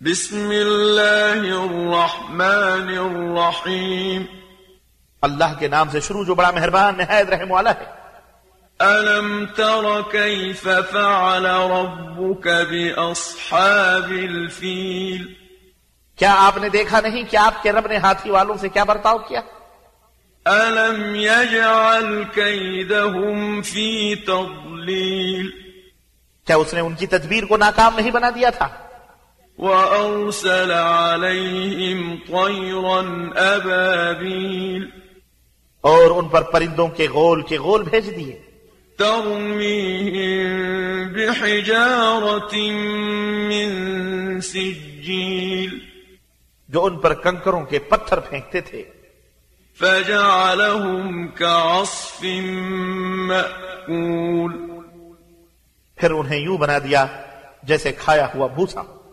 بسم الله الرحمن الرحيم अल्लाह के नाम से शुरू जो बड़ा मेहरबान नहायत रहम वाला है ألم تر كيف فعل ربك بأصحاب الفيل क्या आपने देखा नहीं कि आपके रब ने हाथी वालों से क्या बर्ताव किया ألم يجعل كيدهم في تضليل क्या उसने उनकी तदबीर को नाकाम नहीं बना दिया था وأرسل عليهم طيرا أبابيل और उन पर परिंदों के गोल के गोल भेज दिए ترميهم بحجارة من سجيل जो उन पर कंकरों के पत्थर फेंकते थे فجعلهم كعصف مأكول फिर उन्हें यूं बना दिया जैसे खाया हुआ भूसा